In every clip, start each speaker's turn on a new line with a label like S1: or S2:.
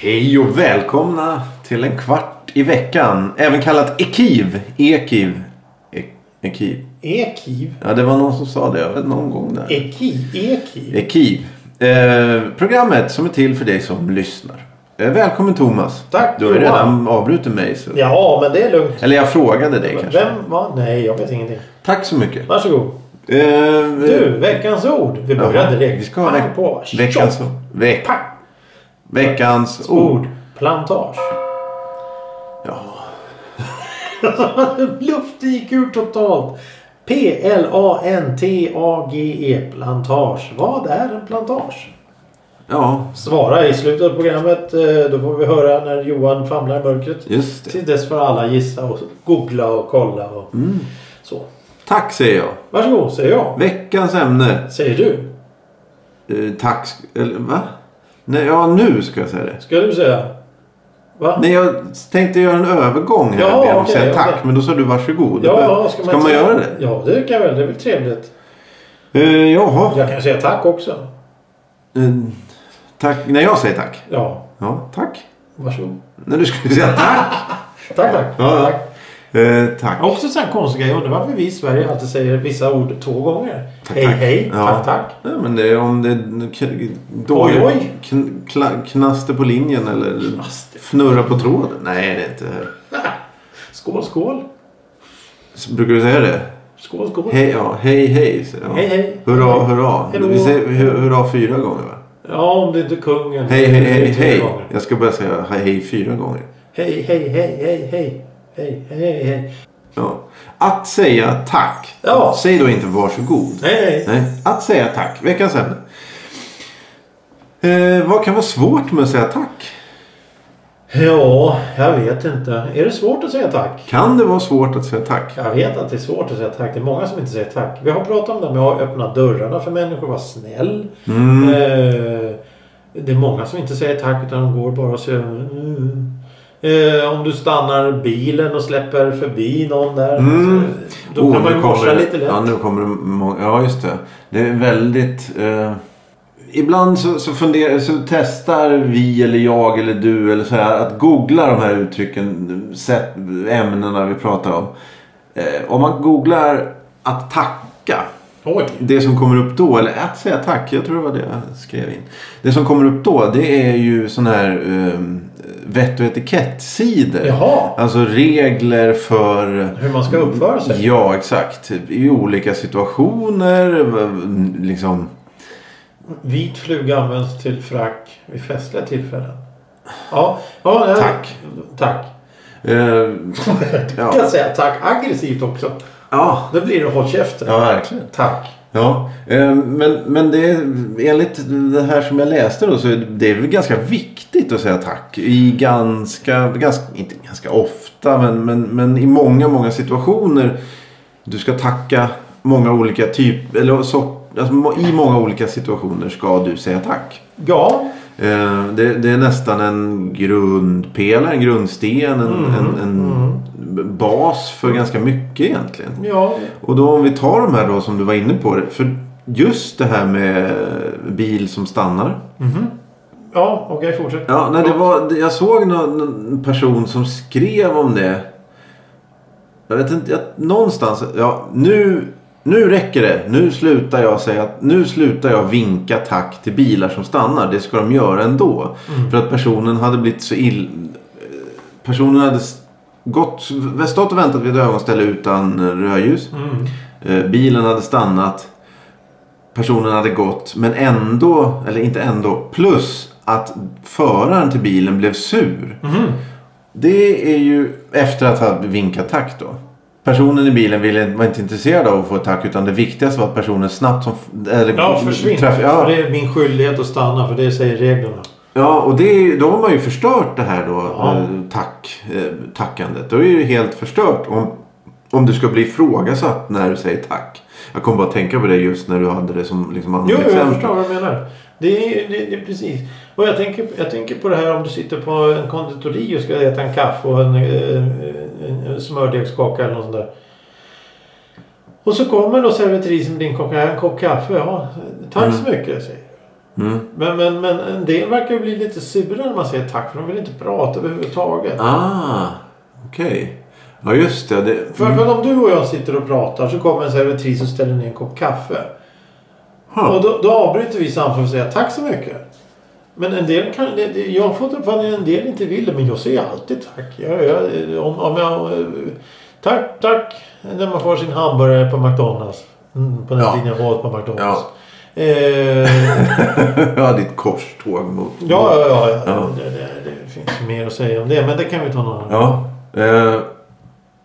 S1: Hej och välkomna till en kvart i veckan. Även kallat Ekiv. Ekiv. E- Ekiv.
S2: Ekiv?
S1: Ja, det var någon som sa det. Jag vet, någon gång där.
S2: Eki? Ekiv?
S1: Ekiv. Eh, programmet som är till för dig som lyssnar. Eh, välkommen Thomas.
S2: Tack,
S1: Du har ju
S2: Johan.
S1: redan avbrutit mig. Så.
S2: Ja, men det är lugnt.
S1: Eller jag frågade dig kanske.
S2: Vem var? Nej, jag vet ingenting.
S1: Tack så mycket.
S2: Varsågod.
S1: Eh,
S2: Du, veckans ord. Vi
S1: jaha.
S2: börjar direkt.
S1: Vi ska ha
S2: Pang
S1: veck-
S2: på.
S1: veckans,
S2: Tjock.
S1: veck,
S2: Pang.
S1: veckans ord.
S2: Ord. Plantage. Ja. Luft gick ur totalt. P-L-A-N-T-A-G-E. E. Plantage. Vad är en plantage?
S1: Ja,
S2: Svara i slutet av programmet. eh, Då får vi höra när Johan famlar i mörkret.
S1: just det.
S2: Till dess får alla gissa och googla och kolla och
S1: Mm.
S2: så.
S1: Tack säger jag.
S2: Varsågod, säger jag.
S1: Veckans ämne.
S2: Säger du.
S1: Eh, tack. sk- Eller va? Nej, ja, nu ska jag säga det.
S2: Ska du säga? Va?
S1: Nej, jag tänkte göra en övergång här
S2: Ja,
S1: genom att
S2: okej,
S1: säga
S2: okej.
S1: tack. Men då sa du varsågod.
S2: ja, ja, ska man,
S1: man
S2: inte-
S1: göra det?
S2: Ja, det kan jag väl. Det är väl trevligt.
S1: Eh, jaha.
S2: Jag kan säga tack också.
S1: Eh, tack. När jag säger tack.
S2: Ja,
S1: Ja, tack.
S2: varsågod.
S1: När du skulle säga tack.
S2: Tack, tack.
S1: Ja,
S2: tack.
S1: ja. Eh, tack.
S2: Jag har Också en sån här konstig grej. Jag undrar varför vi i Sverige alltid säger vissa ord två gånger.
S1: Tack,
S2: hej,
S1: tack.
S2: hej.
S1: Ja.
S2: Tack, tack.
S1: Nej, men det är om det är k- dålig,
S2: Oj, oj.
S1: kn- kla- knaster på linjen eller
S2: Knaster.
S1: fnurra på tråden. Nej, det är inte.
S2: Skål, skål.
S1: Så Brukar du säga det?
S2: Skål, skål.
S1: Hej, ja. Hej, hej. säger jag.
S2: Hej, hej.
S1: Hurra, hurra.
S2: Hej då.
S1: Vi säger hu- hurra fyra gånger, va?
S2: Ja, om det inte är kungen.
S1: Hej, hej, hej,
S2: Tre
S1: hej.
S2: gånger.
S1: Jag ska börja säga hej, hej fyra gånger.
S2: Hej, hej, hej, hej, hej. Hej, hej, hej, hej.
S1: Ja. Att säga tack.
S2: Ja.
S1: Säg då inte varsågod.
S2: Nej, nej.
S1: Nej. Att säga tack. Veckans ämne. Eh, vad kan vara svårt med att säga tack?
S2: Ja, jag vet inte. Är det svårt att säga tack?
S1: Kan det vara svårt att säga tack?
S2: Jag vet att det är svårt att säga tack. Det är många som inte säger tack. Vi har pratat om det här med att öppna dörrarna för människor. Vara snäll.
S1: Mm.
S2: Eh, det är många som inte säger tack utan de går bara och säger... Mm. Eh, om du stannar bilen och släpper förbi någon där.
S1: Mm.
S2: så- Då kan
S1: Oh,
S2: man
S1: nu
S2: ju morsa
S1: kommer-
S2: lite lätt.
S1: Ja, nu kommer det många. Ja, just det. Det är väldigt... Eh, ibland så, så, funderar, så testar vi eller jag eller du eller så här att googla de här uttrycken, sätt, ämnena vi pratar om. Eh, om man googlar att tacka.
S2: Oj!
S1: Det som kommer upp då, eller att säga tack, jag tror det var det jag skrev in. Det som kommer upp då, det är ju sån här eh, vett och etikettsidor.
S2: Jaha!
S1: Alltså regler för...
S2: Hur man ska uppföra sig.
S1: Mm. Ja, exakt. I olika situationer. v- Liksom.
S2: Vit fluga används till frack vid festliga tillfällen. Ja, ja jag-
S1: Tack.
S2: Tack.
S1: Eh,
S2: Jag kan
S1: ja.
S2: säga tack aggressivt också.
S1: Ja.
S2: Då blir det håll käften.
S1: ja, verkligen.
S2: Tack.
S1: Ja. Eh, men, men det är, enligt det här som jag läste då så är det- det är väl ganska viktigt att säga tack. I ganska, ganska inte ganska ofta, men, men, men i många, många situationer. Du ska tacka många olika typer, eller så, alltså, må- i många olika situationer ska du säga tack.
S2: Ja,
S1: Eh, Det, det är nästan en grundpelare, en grundsten, en, en, en bas för ganska mycket egentligen.
S2: ja.
S1: Och då om vi tar de här då som du var inne på. För just det här med bil som stannar.
S2: Ja, okej fortsätt.
S1: Ja, nej, det var, jag såg någon, någon person som skrev om det. Jag vet inte, jag, någonstans. Ja, nu, nu räcker det. Nu slutar jag säga att nu slutar jag vinka tack till bilar som stannar. Det ska de göra ändå. För att personen hade blivit så ill... eh, Personen hade s- gått, stått och väntat vid ett ögonställe utan eh, rödljus.
S2: Mm.
S1: Eh, Bilen hade stannat. Personen hade gått. Men ändå, eller inte ändå. Plus att föraren till bilen blev sur.
S2: Mhm.
S1: Det är ju efter att ha vinkat tack då. Personen i bilen ville, var inte intresserad av att få ett tack. Utan det viktigaste var att personen snabbt som... Eller,
S2: Ja, försvinn.
S1: träff-
S2: För
S1: ja,
S2: det är min skyldighet att stanna för det säger reglerna.
S1: ja, och det, är ju- då har man ju förstört det här då.
S2: Ja.
S1: eh, Tack, eh, tackandet. Då är det ju helt förstört. Om, om du ska bli ifrågasatt när du säger tack. Jag kom bara att tänka på det just när du hade det som liksom
S2: Jo,
S1: andra
S2: jo, jag förstår vad du menar. Det är, det, det är precis. Och jag tänker, jag tänker på det här om du sitter på en konditori och ska äta en kaffe och en, en, en, en smördegskaka eller något sånt där. Och så kommer då servitrisen med din kopp, här, en kopp kaffe. Ja, tack så mycket säger jag.
S1: Mm.
S2: men, men, men en del verkar ju bli lite sura när man säger tack för de vill inte prata överhuvudtaget.
S1: Ah, okej. Ja, just det. det
S2: För, för om du och jag sitter och pratar så kommer en servitris och ställer ner en kopp kaffe.
S1: huh. Mm.
S2: Och då, då avbryter vi samtalet och säger tack så mycket. Men en del kan, det, det, jag har fått uppfattningen att en del inte vill det, men jag säger alltid tack. Jag, jag, om, om jag, eh, tack, tack. När man får sin hamburgare på McDonalds. Mm, på den
S1: Ja.
S2: tiden jag var på McDonalds. Ja.
S1: ja, ditt korståg mot...
S2: ja, ja, ja. ja.
S1: Ja.
S2: Det, det, det finns mer att säga om det, men det kan vi ta någon annan
S1: Ja. Eh,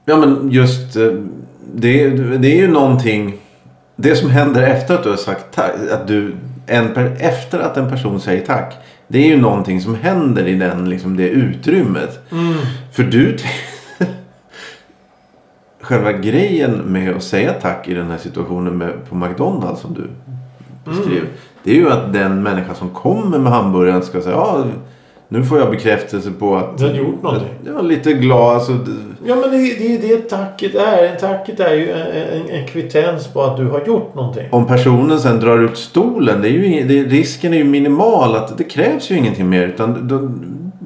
S1: ja, men just eh, det, det är ju någonting. Det som händer efter att du har sagt tack. Att du, en, per- efter att en person säger tack. Det är ju någonting som händer i den, liksom, det utrymmet.
S2: Mm.
S1: För du... Själva grejen med att säga tack i den här situationen med, på McDonalds som du beskrev.
S2: Mm.
S1: Det är ju att den människa som kommer med hamburgaren ska säga ja, nu får jag bekräftelse på att
S2: Du har gjort någonting.
S1: jag var lite glad. Alltså, d-
S2: Ja men det är det, är det tacket är. En tacket är ju en, en, en kvittens på att du har gjort någonting.
S1: om personen sen drar ut stolen, det är ju, ing- det, risken är ju minimal. att Det krävs ju ingenting mer. Utan du,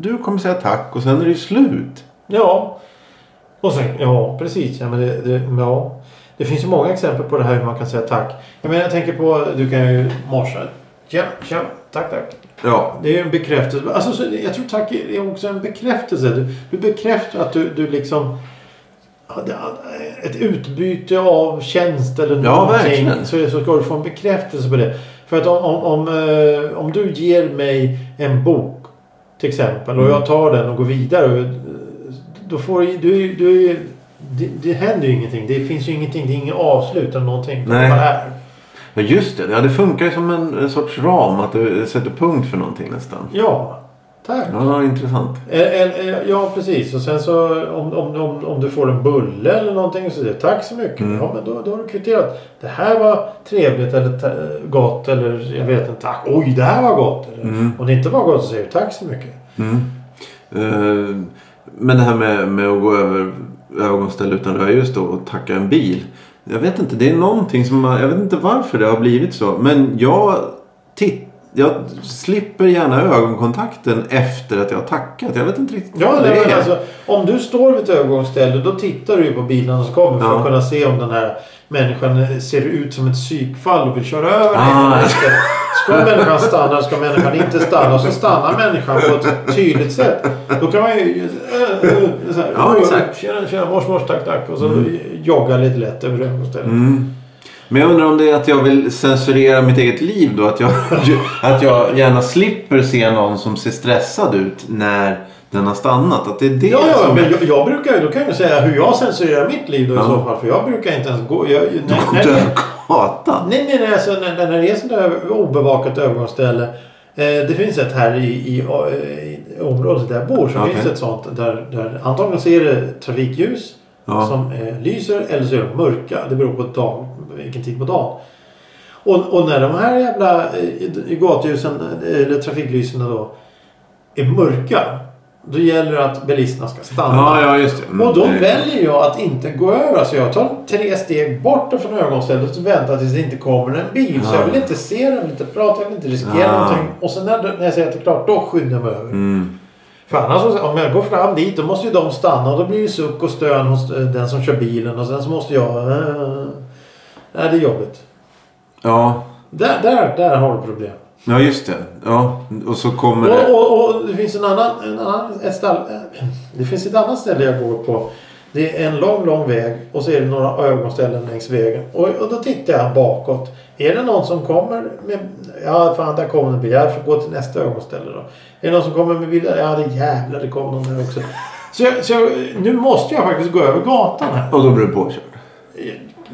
S1: du kommer säga tack och sen är det ju slut.
S2: Ja. Och sen, ja precis. Ja, men det, det, ja. det finns ju många exempel på det här hur man kan säga tack. Jag menar jag tänker på, du kan ju morsa. Tja, tja, tack, tack.
S1: Ja.
S2: Det är ju en bekräftelse. Alltså, så, jag tror tack är är också en bekräftelse. Du, du bekräftar att du, du liksom... ja, det- Ett utbyte av tjänst eller
S1: Ja,
S2: någonting.
S1: verkligen.
S2: så, så ska du få en bekräftelse på det. För att om, om, om, eh, om du ger mig en bok till exempel och
S1: Mm.
S2: jag tar den och går vidare. eh, Då får du, du, du det, det händer ju ingenting. Det finns ju ingenting. Det är inget avslut eller någonting. Det
S1: Nej.
S2: bara är.
S1: Ja just det, ja, det funkar ju som en, en sorts ram att du sätter punkt för någonting nästan.
S2: Ja, tack.
S1: Ja, intressant.
S2: Eh, eh, eh, Ja precis och sen så om, om, om, om du får en bulle eller någonting så säger du tack så mycket.
S1: Mm.
S2: Ja men då, då har du kvitterat. Det här var trevligt eller ta- gott eller jag vet inte tack. Oj det här var gott. Eller,
S1: Mm.
S2: Om det inte var gott så säger du tack så mycket.
S1: Mm. Eh, men det här med, med att gå över övergångsställe utan rödljus då och tacka en bil. Jag vet inte, det är någonting som man, jag vet inte varför det har blivit så. Men jag, titt, jag slipper gärna ögonkontakten efter att jag har tackat. Jag vet inte riktigt
S2: Ja,
S1: vad
S2: nej, men
S1: är.
S2: alltså, om du står vid ett övergångsställe då tittar du ju på bilarna som kommer för
S1: Ja.
S2: att kunna se om den här människan ser ut som ett psykfall och vill köra över dig.
S1: Ah.
S2: Eller Ska, ska människan stanna ska människan inte stanna. Och så stannar människan på ett tydligt sätt. Då kan man ju... Äh, äh, så här,
S1: Ja, exakt.
S2: Tjena, tjena, mors, mors, tack, tack. Och så jogga lite lätt över övergångsstället.
S1: Mm. Men jag undrar om det är att jag vill censurera mitt eget liv då? Att jag, att jag gärna slipper se någon som ser stressad ut när den har stannat? Att det är det
S2: Ja, ja,
S1: som...
S2: men jag, jag brukar ju, då kan jag ju säga hur jag censurerar mitt liv då i
S1: Ja.
S2: så fall. För jag brukar inte ens gå... Jag, när,
S1: Gå
S2: när,
S1: över gatan?
S2: Nej, nej, nej. Alltså, när, när det är sådant där obevakat övergångsställe. Eh, det finns ett här i, i, eh, i området där jag bor. Så
S1: Okej.
S2: finns ett sånt där, där antagligen så är det trafikljus
S1: Ja.
S2: som eh, lyser eller så är de mörka. Det beror på dag, vilken tid på dagen. Och, och när de här jävla eh, gatljusen eh, eller trafiklysen då är mörka. Då gäller det att bilisterna ska stanna.
S1: Ja, ja, just det. Mm,
S2: Och då
S1: det-
S2: väljer jag att inte gå över. Alltså jag tar tre steg bort från ögonstället och väntar tills det inte kommer en bil. Så
S1: Ja.
S2: jag vill inte se den, vill inte prata, jag vill inte riskera
S1: Ja.
S2: någonting. Och sen när, när jag säger att det är klart, då skyndar jag mig över.
S1: Mm.
S2: För annars så- om jag går fram dit, då måste ju de stanna och då blir det suck och stön hos eh, den som kör bilen. Och sen så måste jag... eh, Nej, det är jobbigt.
S1: Ja.
S2: Där, där, där har du problem.
S1: ja, just det. Ja. Och så kommer
S2: Och,
S1: det...
S2: och, och det finns en annan, en annan ett stall, eh, Det finns ett annat ställe jag går på. Det är en lång, lång väg och så är det några ögonställen längs vägen. Och, och då tittar jag bakåt. Är det någon som kommer med... Ja, fan där kommer en bil. Jag får gå till nästa ögonställe då. Är det någon som kommer med bil? Ja, det jävlar det kom någon där också. Så, jag, så jag, nu måste jag faktiskt gå över gatan här.
S1: Och då blir du påkörd?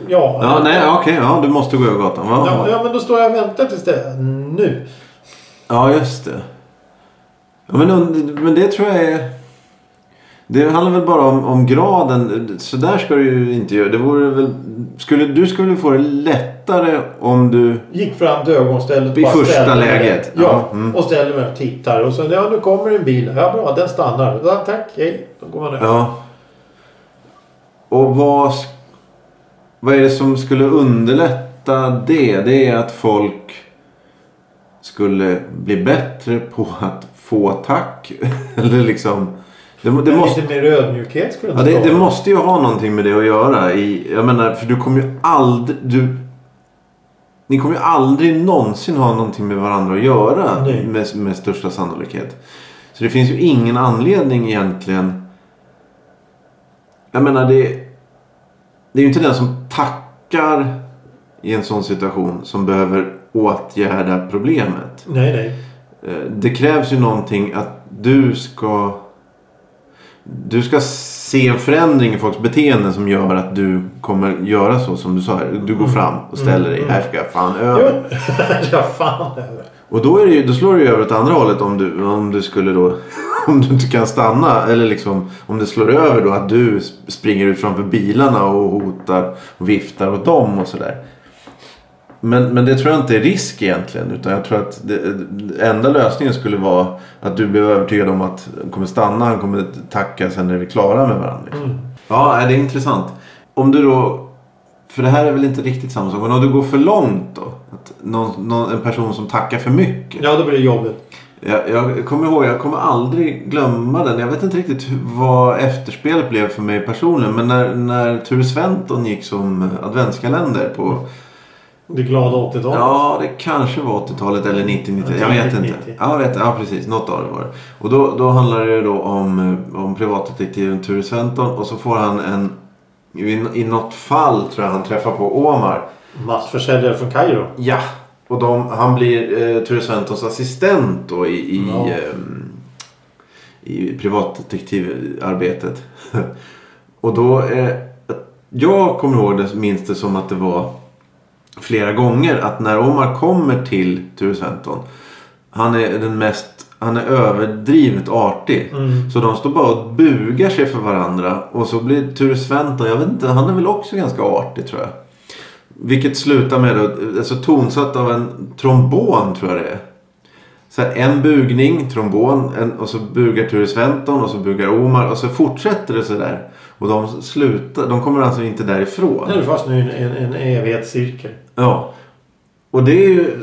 S2: Ja,
S1: Ja, nej, ja, okej. Ja, du måste gå över gatan.
S2: ja,
S1: Ja,
S2: ja, men då står jag och väntar tills det... Nu.
S1: ja just det. Ja, men, und- men det tror jag är... Det handlar väl bara om, om graden. Så där ska du ju inte göra. Det vore väl, skulle, du skulle få det lättare om du...
S2: Gick fram till övergångsstället.
S1: I
S2: bara
S1: första
S2: ställde mig
S1: läget.
S2: där. Ja,
S1: Ja, mm.
S2: och ställer mig och tittar. Och sen, ja nu kommer en bil. Ja bra, den stannar. Ja, tack, hej. Då går man över.
S1: Ja. Och vad, sk- vad är det som skulle underlätta det? Det är att folk skulle bli bättre på att få tack. Eller liksom... Det, må- det
S2: Men
S1: måste,
S2: Lite mer ödmjukhet skulle
S1: ja,
S2: jag
S1: det,
S2: inte
S1: det måste ju ha någonting med det att göra. I, jag menar, för du kommer ju aldrig... Du, ni kommer ju aldrig någonsin ha någonting med varandra att göra.
S2: Nej.
S1: Med, med största sannolikhet. Så det finns ju ingen anledning egentligen. Jag menar det... Det är ju inte den som tackar i en sån situation som behöver åtgärda problemet.
S2: Nej, nej.
S1: Eh, Det krävs ju någonting att du ska... Du ska se en förändring i folks beteende som gör att du kommer göra så som du sa. här. Du går fram och ställer dig. Här ska jag fan över.
S2: Jo. ja, fan.
S1: Och då, är det ju, då slår det ju över åt andra hållet om du, om du skulle då... Om du inte kan stanna eller liksom om det slår över då att du sp- springer ut framför bilarna och hotar och viftar åt dem och sådär. Men, men det tror jag inte är risk egentligen. Utan jag tror att det, det enda lösningen skulle vara att du blir övertygad om att han kommer stanna, han kommer tacka, sen är vi klara med varandra. Liksom.
S2: Mm.
S1: Ja, nej, det är intressant. Om du då... För det här är väl inte riktigt samma sak. Men om du går för långt då? Att någon, någon, en person som tackar för mycket.
S2: Ja, då blir det jobbigt.
S1: Jag, jag kommer ihåg, jag kommer aldrig glömma den. Jag vet inte riktigt hur- vad efterspelet blev för mig personligen. Men när, när Ture Sventon gick som adventskalender på
S2: Det glada 80-talet.
S1: Ja, det kanske var 80-talet eller 90, 90 Jag vet inte.
S2: 90.
S1: Ja, jag vet, ja precis. Något av det var det. Och då, då handlar det ju då om, eh, om privatdetektiven Ture Sventon. Och så får han en... I, I något fall tror jag han träffar på Omar.
S2: Massförsäljare från Kairo.
S1: Ja. Och de, han blir eh, Ture Sventons assistent då i, i,
S2: Ja.
S1: ehm, i privatdetektivarbetet. och då... Eh, jag kommer ihåg det, minns det som att det var flera gånger att när Omar kommer till Ture Sventon. Han är den mest, han är överdrivet artig. Så de står bara och bugar sig för varandra. Och så blir Ture Sventon, jag vet inte, han är väl också ganska artig tror jag. Vilket slutar med då, alltså tonsatt av en trombon tror jag det är. Så här, en bugning, trombon, en, och så bugar Ture Sventon och så bugar Omar och så fortsätter det sådär. Och de slutar, de kommer alltså inte därifrån.
S2: Nu är du fast nu i en, en, en evighetscirkel.
S1: Ja. Och det är ju...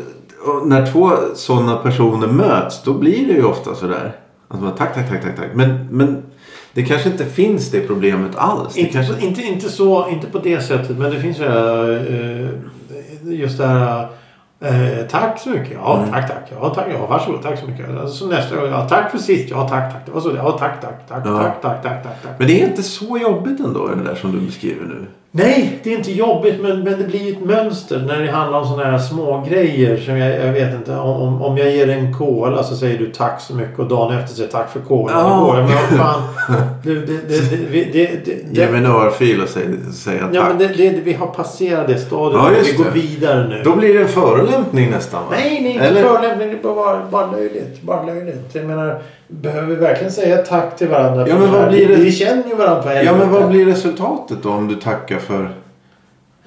S1: och När två sådana personer möts då blir det ju ofta sådär. Att man tack, tack, tack, tack, tack. Men, men det kanske inte finns det problemet alls. Det
S2: Inte,
S1: kanske...
S2: på- inte, inte, så, inte på det sättet, men det finns ju det här, eh, just det här eh, Tack så mycket. Ja,
S1: Mm.
S2: tack, tack. Ja, tack. Ja, varsågod. Tack så mycket. Alltså, Så nästa gång. Ja, tack för sist. Ja, tack, tack. Det var så det. Ja, tack, tack, tack,
S1: Ja.
S2: tack, tack, tack, tack, tack.
S1: Men det är inte så jobbigt ändå det där som du beskriver nu.
S2: Nej, det är inte jobbigt, men, men det blir ju ett mönster när det handlar om sådana här små grejer som jag, jag vet inte. Om, om- om jag ger dig en kola så säger du tack så mycket och dagen efter säger tack för kolan.
S1: Ja.
S2: Ja. Men vad fan. Du, det, det, det, vi- det, det, det,
S1: Ge mig en örfil och säg, säga tack.
S2: Ja, men det, det, vi har passerat det stadiet.
S1: Ja, just
S2: vi går
S1: det.
S2: vidare nu.
S1: Då blir det en förolämpning nästan va?
S2: Nej, nej, inte
S1: Eller-
S2: förolämpning. Det är bara, bara löjligt. Bara löjligt. Jag menar, behöver vi verkligen säga tack till varandra?
S1: Ja,
S2: för
S1: men vad
S2: här?
S1: blir det-
S2: Vi känner ju varandra för
S1: Ja,
S2: helvete.
S1: men vad blir resultatet då om du tackar för...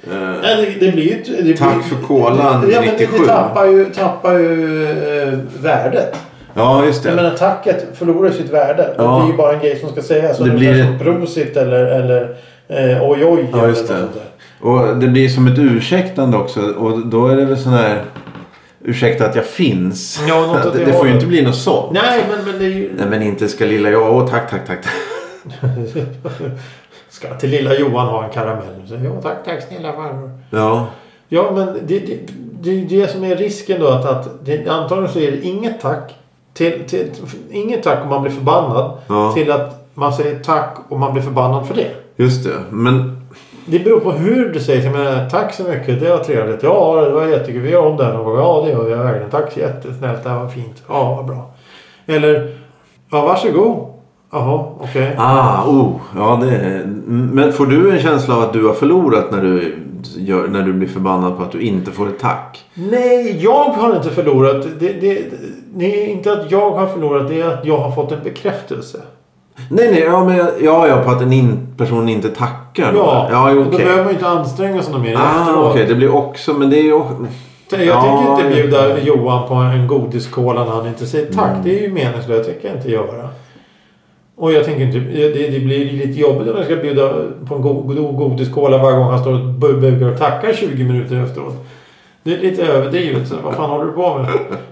S1: Eh,
S2: Nej, det, det blir ju... inte- Det
S1: Tack
S2: blir,
S1: för kolan
S2: ja, men det,
S1: 97.
S2: det tappar ju, tappar ju eh, värdet.
S1: ja, just
S2: Jag
S1: det.
S2: menar, tacket förlorar sitt värde.
S1: Ja.
S2: Det blir ju bara en grej som ska sägas.
S1: Det
S2: Det
S1: blir
S2: blir
S1: ett-
S2: som prosit eller, eller eh, oj, oj.
S1: Ja,
S2: eller
S1: just
S2: något
S1: det.
S2: sånt där.
S1: Och det blir som ett ursäktande också. Och då är det väl sån här... Ursäkta att jag finns.
S2: Ja, något åt
S1: det, det
S2: det
S1: får ju
S2: hållet.
S1: inte bli något sånt.
S2: Nej, men, men det är ju...
S1: Nej men inte ska lilla jag. Åh tack, tack, tack. tack.
S2: Ska till lilla Johan ha en karamell? Så, ja, tack, tack snälla farbror.
S1: Ja.
S2: Ja, men det, det, det är det som är risken då. Att, att det, antagligen så är det inget tack. Till, till, inget tack om man blir förbannad.
S1: Ja.
S2: Till att man säger tack och man blir förbannad för det.
S1: Just det. Men...
S2: Det beror på hur du säger. Jag menar, tack så mycket, det var trevligt. Ja, det var jättekul. Vi gör om det här någon gång. Ja, det gör vi verkligen. Tack så jättesnällt. Det här var fint. Ja, vad bra. Eller, ja, varsågod. Jaha, okej.
S1: Ah, oh. Ja, det är... Men får du en känsla av att du har förlorat när du, gör, när du blir förbannad på att du inte får ett tack?
S2: Nej, jag har inte förlorat. Det, det, det är inte att jag har förlorat, det är att jag har fått en bekräftelse.
S1: Nej, nej. Ja, men, jag- ja, ja, på att en in, person inte tackar. då.
S2: Ja,
S1: ja
S2: då
S1: okej.
S2: behöver man ju inte anstränga sig något mer
S1: Ah,
S2: efteråt.
S1: okej. Det blir också... Men det är ju...
S2: Jag
S1: Ja,
S2: tänker inte
S1: det-
S2: bjuda Johan på en godiskola när han inte säger tack.
S1: Mm.
S2: Det är ju meningslöst. Det tänker jag inte göra. Och jag tänker inte... Det, det blir ju lite jobbigt om jag ska bjuda på en go- god godiskola varje gång han står och bu- bugar och tackar 20 minuter efteråt. Det är lite överdrivet. Så vad fan håller du på med?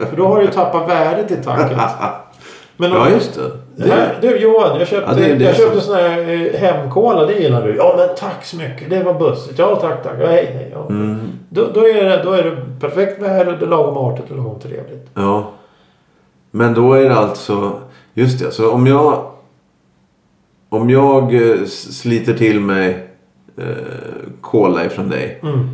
S2: För då har du ju tappat värdet i tacket. Men om,
S1: Ja, just det.
S2: det
S1: det
S2: här, du Johan, jag köpte,
S1: Ja, det är det
S2: jag
S1: som-
S2: köpte sån här eh, hemkola. Det gillar du. Ja men tack så mycket. Det var bussigt. Ja tack tack. Ja, hej hej. Ja.
S1: mm,
S2: Då, då, är det, då är det perfekt väder, det är lagom artigt och lagom trevligt.
S1: ja. Men då är det alltså... Just det. Så om jag... Om jag eh, s- sliter till mig eh, cola ifrån dig.
S2: Mm.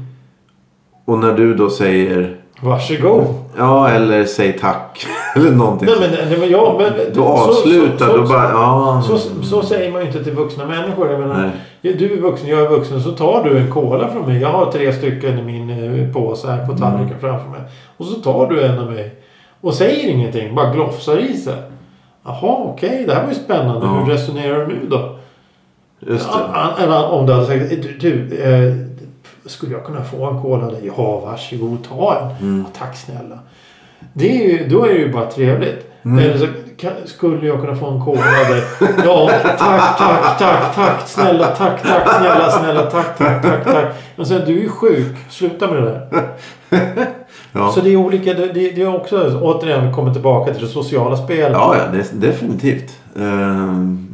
S1: Och när du då säger...
S2: Varsågod.
S1: Ja, eller säg tack. eller någonting.
S2: Nej men, nej, men jag... Men, eh,
S1: Då avslutar,
S2: så,
S1: då bara... Ja.
S2: Så, så, så säger man ju inte till vuxna människor. Jag menar,
S1: Nej.
S2: ja, du är vuxen, jag är vuxen. Så tar du en cola från mig. Jag har tre stycken i min eh, påse här på tallriken framför mig. Och så tar du en av mig. Och säger ingenting. Bara glofsar i sig. Jaha, okej. Det här var ju spännande.
S1: Ja.
S2: Hur resonerar du nu då?
S1: Just det.
S2: Ja, an- Eller om du hade sagt du, du eh, skulle jag kunna få en cola? Eller, Ja, varsågod ta en.
S1: Mm.
S2: Ja, tack snälla. Det är ju, då är det ju bara trevligt.
S1: Mm.
S2: Eller så kan, skulle jag kunna få en cola? av dig? Ja, tack, tack, tack, tack, snälla, tack, tack, snälla, snälla, tack, tack, tack, tack. Men sen, du är ju sjuk. Sluta med det där.
S1: Ja.
S2: Så det är olika. Det, det det är också återigen vi kommer tillbaka till det sociala spelet.
S1: Ja, ja det, definitivt. Ehm,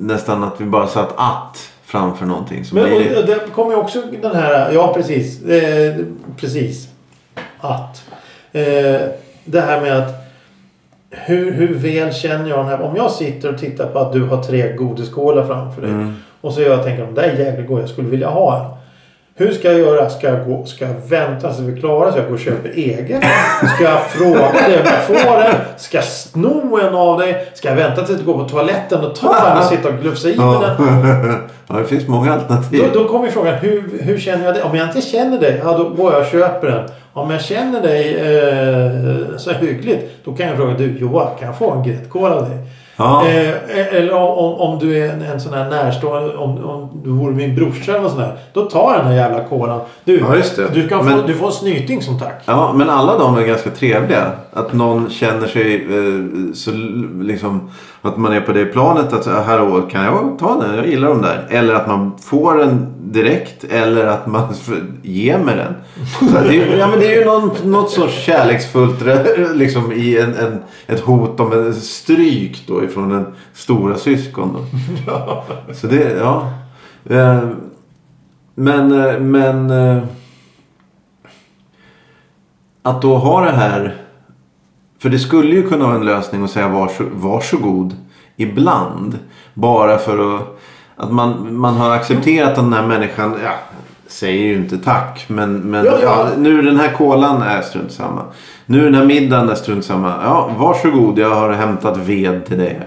S1: nästan att vi bara satt att framför någonting. Så
S2: Men och,
S1: blir det...
S2: och där kommer ju också den här, ja precis. Eh, precis. Att. Eh, det här med att hur, hur väl känner jag den här? Om jag sitter och tittar på att du har tre godisskålar framför dig.
S1: Mm.
S2: Och så jag tänker, de där är jävligt goda, jag skulle vilja ha en. Hur ska jag göra? Ska jag, gå, ska jag vänta så vi klarar så jag går och köper egen? Ska jag fråga dig om jag får den? Ska jag sno en av dig? Ska jag vänta tills du går på toaletten och ta den och sitta och glufsa i med den?
S1: ja. ja, det finns många alternativ.
S2: Då, då kommer ju frågan, hur, hur känner jag dig? Om jag inte känner dig, ja då går jag och köper den. Om jag känner dig eh, så här hyggligt, då kan jag fråga du Johan, kan jag få en gräddkola av dig?
S1: Ja.
S2: Eh, eller om, om, om du är en, en sån här närstående, om, om du vore min brorsa eller något sånt där. Då tar jag den här jävla kolan. Du,
S1: Ja, just det.
S2: Du, kan få,
S1: Men-
S2: du får en snyting som tack.
S1: Ja, men alla de är ganska trevliga. Att någon känner sig eh, så l- liksom att man är på det planet att så här och kan jag ta den? Jag gillar dem där. Eller att man får den direkt eller att man f- ger mig den. Så här, det, är, ju- ja, men det är ju någon, något sorts kärleksfullt re- liksom i en, en, ett hot om en stryk då ifrån den stora syskon då. Så det, ja. Eh, Men, eh, men eh, att då ha det här. För det skulle ju kunna vara en lösning att säga vars, varsågod ibland. Bara för att, att man, man har accepterat att den här människan ja, säger ju inte tack. Men, men
S2: Ja,
S1: ja,
S2: ja.
S1: nu den här kolan är strunt samma. Nu den här middagen är strunt samma. Ja, varsågod jag har hämtat ved till dig.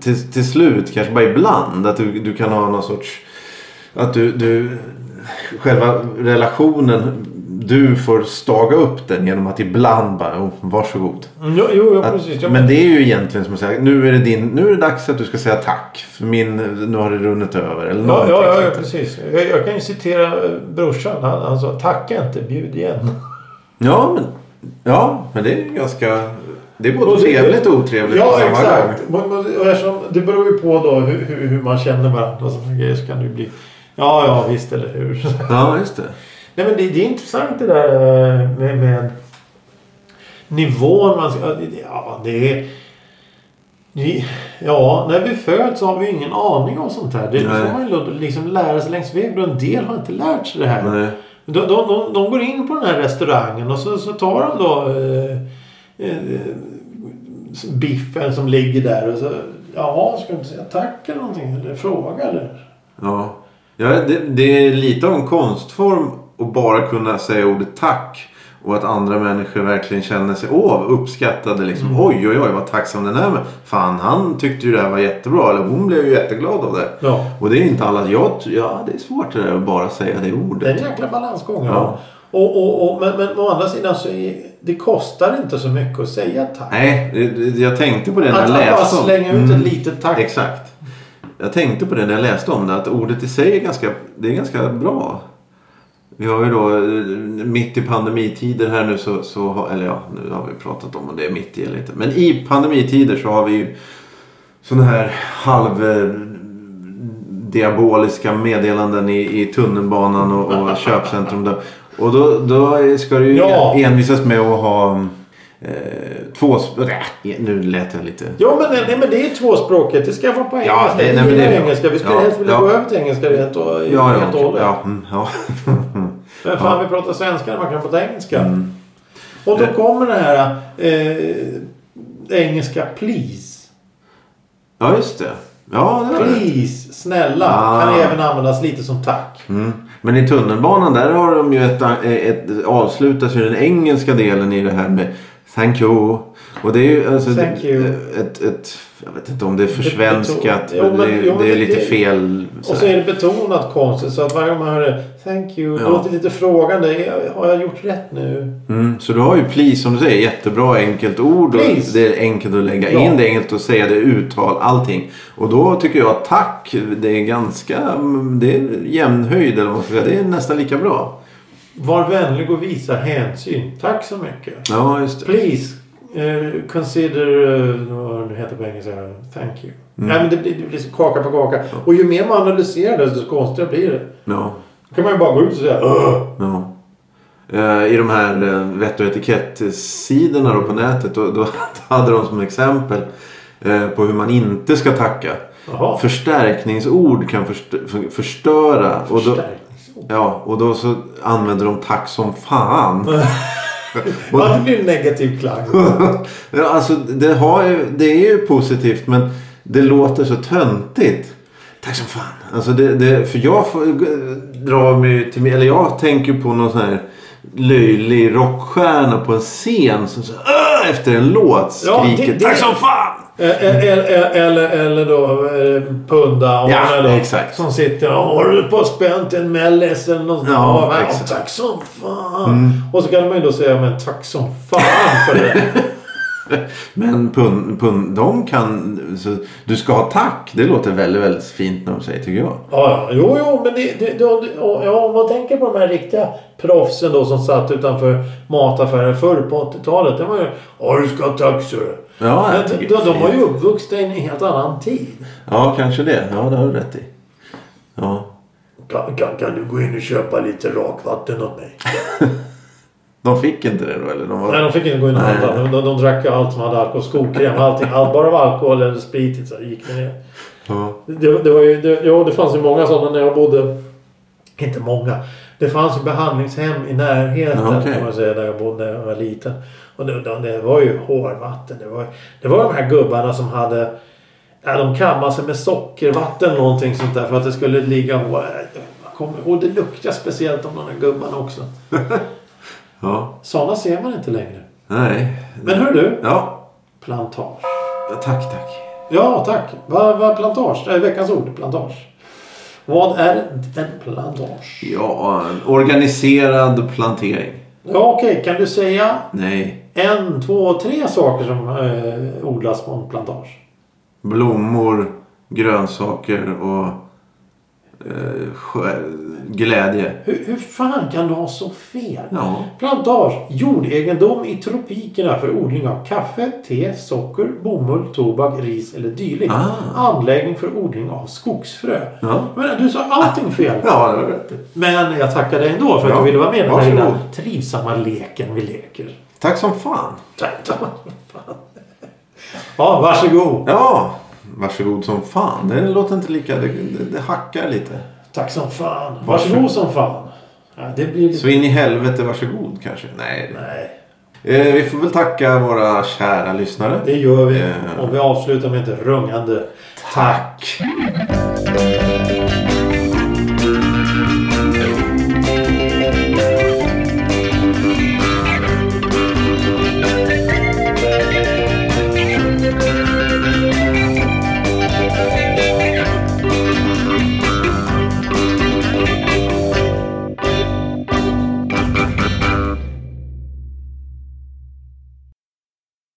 S1: Till, till slut, kanske bara ibland, att du, du kan ha någon sorts... Att du, du... Själva relationen, du får staga upp den genom att ibland bara, oh, varsågod.
S2: Mm, Jo, jo, jo
S1: Att-
S2: precis. Ja,
S1: men det är ju egentligen som att säga, nu är det, din, nu är det dags att du ska säga tack. För min, nu har det runnit över. Eller
S2: Ja,
S1: någonting
S2: ja, ja, ja,
S1: sånt där.
S2: precis. Jag, jag kan ju citera eh, brorsan. Han, han sa tacka inte, bjud igen.
S1: ja, men, ja, men det är ju ganska... Det är både
S2: Och det-
S1: trevligt och otrevligt på
S2: Ja,
S1: samma
S2: exakt.
S1: gång.
S2: Men- men- och eftersom Det beror ju på då hur, hur, hur man känner varandra och sådana grejer. Så kan det ju bli... Ja, ja, visst eller hur.
S1: Ja, just det.
S2: Nej, men det, det är intressant det där eh, med, med nivån man ska... Ja, det är... det- Ja, när vi föds så har vi ju ingen aning om sånt här. Det
S1: Nej.
S2: får man ju liksom lära sig längs vägen. Och en del har inte lärt sig det här.
S1: Nej.
S2: De, de, de, de går in på den här restaurangen och så, så tar de då eh, eh, biffen som ligger där och så ja, ska du inte säga tack eller någonting eller fråga eller?
S1: Ja. ja det, det är lite av en konstform att bara kunna säga ordet tack. Och att andra människor verkligen känner sig åh, uppskattade. Liksom.
S2: Mm.
S1: Oj, oj, oj, vad tacksam den här var. Fan, han tyckte ju det här var jättebra. Eller hon blev ju jätteglad av det.
S2: Ja.
S1: Och det är inte alla. Jag, ty- ja, det är svårt det där att bara säga det
S2: Det är en
S1: ordet.
S2: jäkla balansgång.
S1: Ja.
S2: Och, och, och, men, men å andra sidan så är, det kostar inte så mycket att säga tack.
S1: Nej, det- det- jag tänkte på det när jag
S2: att att bara
S1: läste om Mm.
S2: slänga ut ett litet tack.
S1: Exakt. Jag tänkte på det när jag läste om det. Att ordet i sig är ganska, det är ganska bra. Vi har ju då eh, mitt i pandemitider här nu så, så har, eller ja, nu har vi pratat om om det är mitt i eller inte. Men i pandemitider så har vi ju sådana här halv eh, diaboliska meddelanden i, i tunnelbanan och, och köpcentrum. Där. Och då, då ska du ju
S2: Ja.
S1: envisas med att ha eh, två... Nej, nu lät jag lite...
S2: Ja, men, nej, men det är tvåspråkigt. Det ska vara på engelska.
S1: Ja, det- nej,
S2: Jag
S1: men
S2: gillar
S1: det är bra.
S2: engelska. Vi skulle
S1: Ja,
S2: helst vilja
S1: ja.
S2: gå över till engelska rent och
S1: Ja,
S2: helt och
S1: ja,
S2: hållet.
S1: ja, mm, ja.
S2: Men fan, vi pratar svenska när man kan prata engelska. Och då kommer Mm. det här eh, engelska please.
S1: ja, just det. Ja, det var det.
S2: Please, snälla.
S1: Ah.
S2: Kan även användas lite som tack.
S1: Mm. Men i tunnelbanan där har de ju ett, eh, ett, avslutas ju den engelska delen i det här med Thank you. Och det är ju alltså
S2: Thank you.
S1: Ett, ett, jag vet inte om det är försvenskat.
S2: Jo,
S1: men
S2: men-
S1: det, är-
S2: jo, men
S1: det är
S2: det-
S1: lite fel.
S2: Och så är det betonat konstigt så att varje gång man hör det Thank you.
S1: Ja.
S2: Ja. Låter lite frågande. Är- Har jag gjort rätt nu?
S1: Mm, så du har ju please som du säger. Jättebra enkelt ord. Och
S2: Please.
S1: det är enkelt att lägga
S2: Ja.
S1: in. Det är enkelt att säga det. Uttal. Allting. Och då tycker jag tack. Det är ganska. Det är jämn höjd. Eller vad man ska säga. Det är nästan lika bra.
S2: Var vänlig och visa hänsyn. Tack så mycket.
S1: Ja just det.
S2: Please eh, consider... eh, vad det heter på engelska. Thank you. Nej, men det, blir- det blir så kaka på kaka. Och ju mer man analyserar det desto konstigare blir det.
S1: Ja.
S2: Då kan man ju bara gå ut och säga "Ugh."
S1: Ja. Eh, I de här eh, vett och etikettsidorna då på nätet då, då hade de som exempel eh, på hur man inte ska tacka.
S2: Jaha.
S1: Förstärkningsord kan först- för- förstöra. Och då,
S2: Förstärkningsord.
S1: ja, och då så använder de tack som fan.
S2: Ja, det blir en negativ klang.
S1: ja, alltså, det, har ju, det är ju positivt men det låter så töntigt. Tack som fan. Alltså det, det, för jag får, drar mig ju till Eller jag tänker på någon sån här löjlig rockstjärna på en scen som så, "Åh!" efter en låt
S2: Ja, det-
S1: skriker
S2: det-
S1: Tack som fan!
S2: Eller, eh, eller, eller då eh, Punda. och
S1: Ja,
S2: alla då,
S1: exakt.
S2: Som sitter och håller på spänt en mellis eller något sånt.
S1: Ja,
S2: Ja,
S1: exakt. Mm.
S2: Tack som fan. Och så kan man ju då säga men tack som fan för det.
S1: Men pun, pun, de kan... Så, du ska ha tack. Det låter väldigt, väldigt fint när de säger tycker jag.
S2: Ja, ja. jo, jo, men det, det, det, ja, ja, om man tänker på de här riktiga proffsen då som satt utanför mataffären förr på 80-talet. Det var ju... Ja, du ska ha tack så du.
S1: Ja, jag
S2: Men
S1: tycker
S2: de,
S1: det är
S2: de var ju
S1: fint.
S2: uppvuxna i en helt annan tid.
S1: Ja, kanske det. Ja, det har du rätt i. Ja.
S2: Kan, kan, kan du gå in och köpa lite rakvatten åt mig?
S1: De fick inte det då eller? De var...
S2: Nej, de fick inte gå in och
S1: Nej.
S2: handla. De, de, de drack ju allt som hade alkohol. Skokräm, allting. Allt bara var alkohol eller sprit så gick det ner.
S1: Ja.
S2: Det, det var ju... Det, ja, det fanns ju många sådana när jag bodde. Inte många. Det fanns ju behandlingshem i närheten
S1: Ja, okej.
S2: kan man säga, där jag bodde när jag var liten. Och det, det, det var ju hårvatten. Det var, det var de här gubbarna som hade... Ja, de kammade sig med sockervatten eller någonting sånt där för att det skulle ligga hår. Jag kommer ihåg, det luktar speciellt om de här gubbarna också.
S1: ja.
S2: Sådana ser man inte längre.
S1: Nej.
S2: Men hör du,
S1: Ja.
S2: plantage.
S1: Tack, tack.
S2: Ja, tack. Vad vad är plantage? Äh, veckans ord, plantage. Vad är en plantage?
S1: Ja, en organiserad plantering.
S2: Ja, okej. Kan du säga
S1: Nej.
S2: en, två, tre saker som eh, odlas på en plantage?
S1: Blommor, grönsaker och eh, sjö- glädje.
S2: Hur, hur fan kan du ha så fel?
S1: Ja.
S2: Plantage, jordegendom i tropikerna för odling av kaffe, te, socker, bomull, tobak, ris eller dylikt.
S1: Ah.
S2: Anläggning för odling av skogsfrö.
S1: Ja.
S2: Men du sa allting fel.
S1: Ja, det var rätt.
S2: Men jag tackar dig ändå för att
S1: Ja,
S2: du ville vara med i den här
S1: varsågod.
S2: lilla trivsamma leken vi leker.
S1: Tack som fan.
S2: Tack, tack. Fan. Ja, varsågod.
S1: Ja. Varsågod som fan. Det låter inte lika... Det, det, det hackar lite.
S2: Tack som fan. Varsågod som fan. Ja, det blir lite...
S1: Så in i helvete varsågod kanske. Nej.
S2: Nej,
S1: Eh, vi får väl tacka våra kära lyssnare.
S2: det gör vi.
S1: Eh.
S2: Och vi avslutar med ett rungande tack.
S1: Tack.